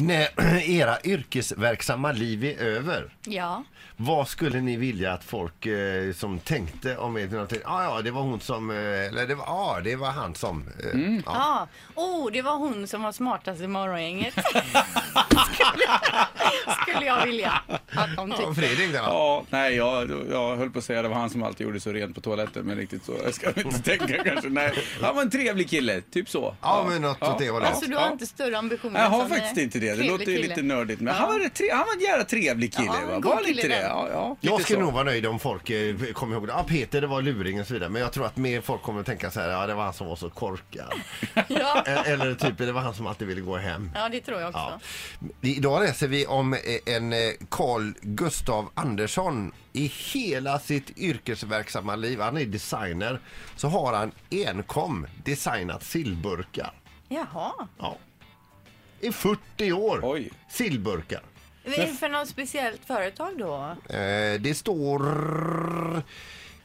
När era yrkesverksamma liv är över, Ja. vad skulle ni vilja att folk eh, som tänkte om er, någonting, ah, ja det var hon som, eh, eller det var, ah, det var han som, eh, Mm. ja. Ja. Oh, det var hon som var smartast i morgongänget. skulle, skulle jag vilja att de Ja, tyckte. Fredrik där. Ja, nej, jag, jag höll på att säga det var han som alltid gjorde så rent på toaletten, men riktigt så jag ska jag inte tänka kanske. Nej, han var en trevlig kille, typ så. Ja, men något åt det hållet. Alltså du har inte större ambitioner Jag har som, eh, faktiskt inte det. Det trevlig låter ju kille. lite nördigt. Men han, var en tre, han var en jävla trevlig kille. Ja, en va? god Var han kille inte det? den. Ja, ja, Jag lite skulle så. nog vara nöjd om folk eh, kom ihåg det. Ah, Peter det var luring och så vidare. Men jag tror att mer folk kommer att tänka så här, ja det var han som var så korkad. Ja. E- Eller typ, det var han som alltid ville gå hem. ja, det tror jag också. Ja. Idag läser vi om eh, en eh, Carl Gustav Andersson. I hela sitt yrkesverksamma liv, han är designer, så har han enkom designat sillburkar. Jaha. Ja. I 40 år! Oj. Sillburkar. Vad är det för något speciellt företag då? Eh, det står...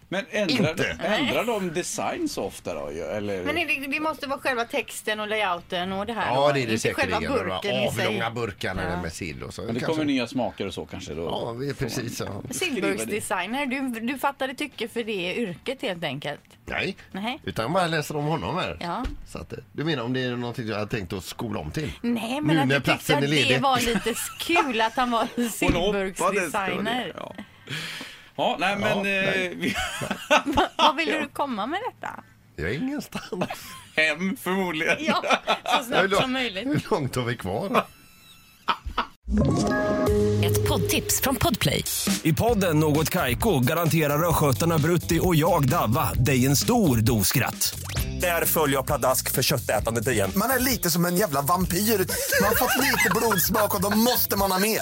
Men ändrar, Inte. ändrar de design så ofta då? ju, Eller? Men är det, det måste vara själva texten och layouten och det här Ja, då? det är det Inte säkerligen. själva De här burken i sig. Avlånga burkarna med sill och så. Men det Kanske- kommer nya smaker och så kanske då? Ja, vi är precis så. Silburgsdesigner, du, du fattade tycke för det yrket helt enkelt. Nej, Nej. utan jag bara läser om honom här. Ja. Så att, eh, du menar om det är någonting jag hade tänkt att skola om till? Nej, Nu men när att du tyckte platsen att är ledig. det var lite kul att han var Hon hoppades, det var det. silburgsdesigner. Ja. Ja, nej men... Ja, nej. eh, vi, Vad vill du komma med detta? Jag är ingenstans. hem förmodligen. Ja, så Hur snabbt lång- som möjligt. Hur långt har vi kvar? Ett poddtips från Podplay. I podden Något Kaiko garanterar östgötarna Brutti och jag, Davva, dig en stor dos skratt. Där följer jag pladask för köttätandet igen. Man är lite som en jävla vampyr. Man har fått lite blodsmak och då måste man ha mer.